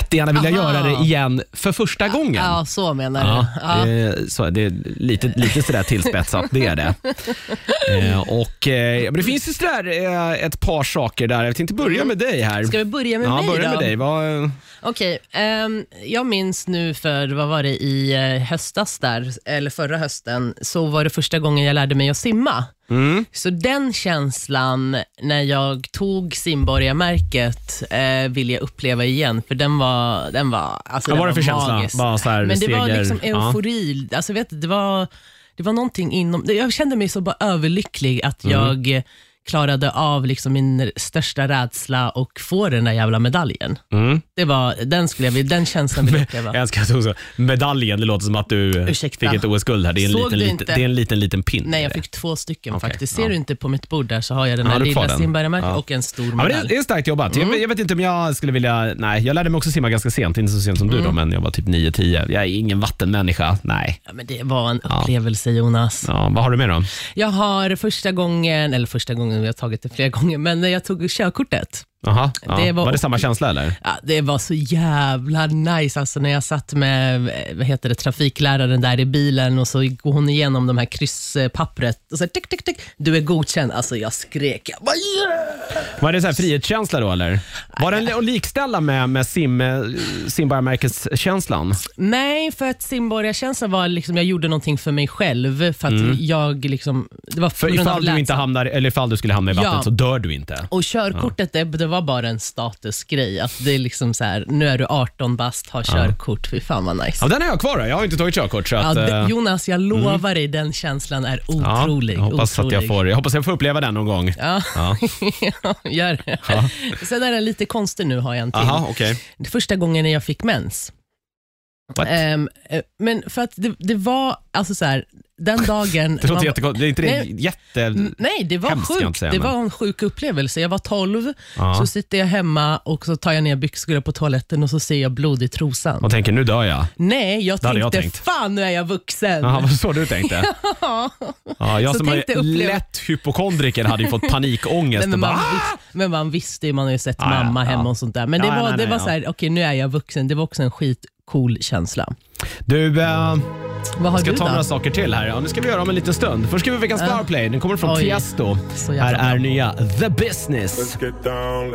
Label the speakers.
Speaker 1: jättegärna vilja
Speaker 2: Aha.
Speaker 1: göra det igen för första gången.
Speaker 2: Ja, så menar
Speaker 1: Ja, Eh,
Speaker 2: du. Ja.
Speaker 1: Det, är, så, det är lite, lite sådär tillspetsat, det är det. Eh, och, eh, men det finns ju sådär eh, ett par saker där. Jag tänkte börja med dig här.
Speaker 2: Mm. Ska vi börja med
Speaker 1: ja,
Speaker 2: mig
Speaker 1: börja
Speaker 2: då?
Speaker 1: med dig. Vad,
Speaker 2: Okej, ehm, jag minns nu för, vad var det, i eh, höstas där, eller förra hösten, så var det första gången jag lärde mig att simma.
Speaker 1: Mm.
Speaker 2: Så den känslan när jag tog simborgarmärket eh, vill jag uppleva igen, för den var, den var, alltså,
Speaker 1: Vad
Speaker 2: den
Speaker 1: var det för känsla?
Speaker 2: magisk.
Speaker 1: Bara så här
Speaker 2: Men det var
Speaker 1: seger-
Speaker 2: liksom
Speaker 1: ja.
Speaker 2: eufori, alltså vet du, det var, det var någonting inom, jag kände mig så bara överlycklig att
Speaker 1: Mm.
Speaker 2: jag klarade av liksom min största rädsla och få den där jävla medaljen.
Speaker 1: Mm.
Speaker 2: Det var, den, skulle jag, vilja- den känslan vill jag uppleva.
Speaker 1: jag älskar att du också, medaljen, det låter som att du eh,
Speaker 2: Ursäkta.
Speaker 1: fick ett OS-guld här. Det är en
Speaker 2: Såg
Speaker 1: liten,
Speaker 2: du
Speaker 1: liten,
Speaker 2: inte?
Speaker 1: det är en liten, liten pin.
Speaker 2: Nej, jag
Speaker 1: i det.
Speaker 2: fick två stycken
Speaker 1: Okej,
Speaker 2: faktiskt. Ser
Speaker 1: ja.
Speaker 2: du inte på mitt bord där så har jag den här
Speaker 1: Ja, du får
Speaker 2: lilla
Speaker 1: den.
Speaker 2: simborgarmärket
Speaker 1: Ja.
Speaker 2: och en stor
Speaker 1: Ja, men
Speaker 2: medalj.
Speaker 1: det, det är starkt jobbat.
Speaker 2: Mm.
Speaker 1: Jag, jag vet inte om jag skulle vilja... Nej, jag lärde mig också simma ganska sent. Inte så sent som du
Speaker 2: Mm.
Speaker 1: då, men jag var typ 9-10. Jag är ingen vattenmänniska. Nej.
Speaker 2: Ja, men det var en upplevelse Jonas.
Speaker 1: Ja, vad har du med då?
Speaker 2: Jag har första gången, eller första gången, jag har tagit det flera gånger, men när jag tog körkortet.
Speaker 1: Aha, ja.
Speaker 2: Det
Speaker 1: var,
Speaker 2: var-
Speaker 1: det samma känsla eller?
Speaker 2: Ja, det var så jävla nice alltså när jag satt med eh, vad heter det, trafikläraren där i bilen och så går hon igenom de här krysspappret och så här, tick, tick, tick. Du är godkänd. Alltså jag skrek. Jag bara, yeah!
Speaker 1: Var det så här frihetskänsla då eller? Var den att likställa med, med sim, eh, simborgarmärkeskänslan?
Speaker 2: Nej, för att simborgarkänslan var liksom, jag gjorde någonting för mig själv för att jag liksom, det var
Speaker 1: Mm. För
Speaker 2: på grund av
Speaker 1: ifall du inte
Speaker 2: läsan.
Speaker 1: hamnar, eller ifall du skulle hamna i vattnet
Speaker 2: Ja.
Speaker 1: så dör du inte.
Speaker 2: Och körkortet, det, det var bara en statusgrej. Att det är liksom så här, nu är du 18 bast, ha körkort. Fy fan vad nice.
Speaker 1: Ja, den har jag kvar då. Jag har inte tagit körkort så
Speaker 2: Ja,
Speaker 1: att...
Speaker 2: det,
Speaker 1: eh,
Speaker 2: Jonas, jag lovar dig, den känslan är
Speaker 1: ja,
Speaker 2: otrolig.
Speaker 1: jag, hoppas att
Speaker 2: otrolig.
Speaker 1: jag, får, jag hoppas jag får uppleva den någon gång.
Speaker 2: Ja,
Speaker 1: Ja.
Speaker 2: gör det. Sen är den lite konstig nu, har jag en till.
Speaker 1: Aha, okej.
Speaker 2: Det är Första gången när jag fick mens.
Speaker 1: What?
Speaker 2: Ehm, eh, men för att det, det var, alltså så här, den dagen...
Speaker 1: Det låter
Speaker 2: man-
Speaker 1: jättekonstigt. Det är inte det
Speaker 2: Nej.
Speaker 1: jätte...
Speaker 2: Mm, Nej, det var
Speaker 1: Hemskt ska jag inte
Speaker 2: sjukt.
Speaker 1: säga,
Speaker 2: det
Speaker 1: men-
Speaker 2: var en sjuk upplevelse. Jag var 12,
Speaker 1: Ja.
Speaker 2: så sitter jag hemma och så tar jag ner byxor går på toaletten och så ser jag blod i trosan.
Speaker 1: Man tänker, nu dör jag.
Speaker 2: Nej, jag
Speaker 1: Det hade
Speaker 2: tänkte,
Speaker 1: jag tänkt.
Speaker 2: fan nu är jag vuxen.
Speaker 1: Jaha, var det så du tänkte? ja, jag
Speaker 2: Så
Speaker 1: som är
Speaker 2: tänkte uppleva-
Speaker 1: lätt hypokondriker hade ju fått panikångest.
Speaker 2: Nej, men,
Speaker 1: och bara,
Speaker 2: man
Speaker 1: "Ah!"
Speaker 2: vis- men man visste ju, man har ju sett
Speaker 1: Ja, ja,
Speaker 2: mamma hemma
Speaker 1: ja.
Speaker 2: och sånt där. Men
Speaker 1: Ja,
Speaker 2: det
Speaker 1: ja,
Speaker 2: var,
Speaker 1: nej,
Speaker 2: det
Speaker 1: nej,
Speaker 2: var
Speaker 1: ja.
Speaker 2: så här, okej nu är jag vuxen. Det var också en skitcool känsla.
Speaker 1: Du, eh,
Speaker 2: Vad har
Speaker 1: ska
Speaker 2: du
Speaker 1: ta några
Speaker 2: då?
Speaker 1: saker till här. Ja, nu ska vi göra om en liten stund. Först ska vi veckans Powerplay. Den kommer från
Speaker 2: Oj.
Speaker 1: Tiesto.
Speaker 2: Så jävla
Speaker 1: Här är nya The Business.
Speaker 3: Let's get down,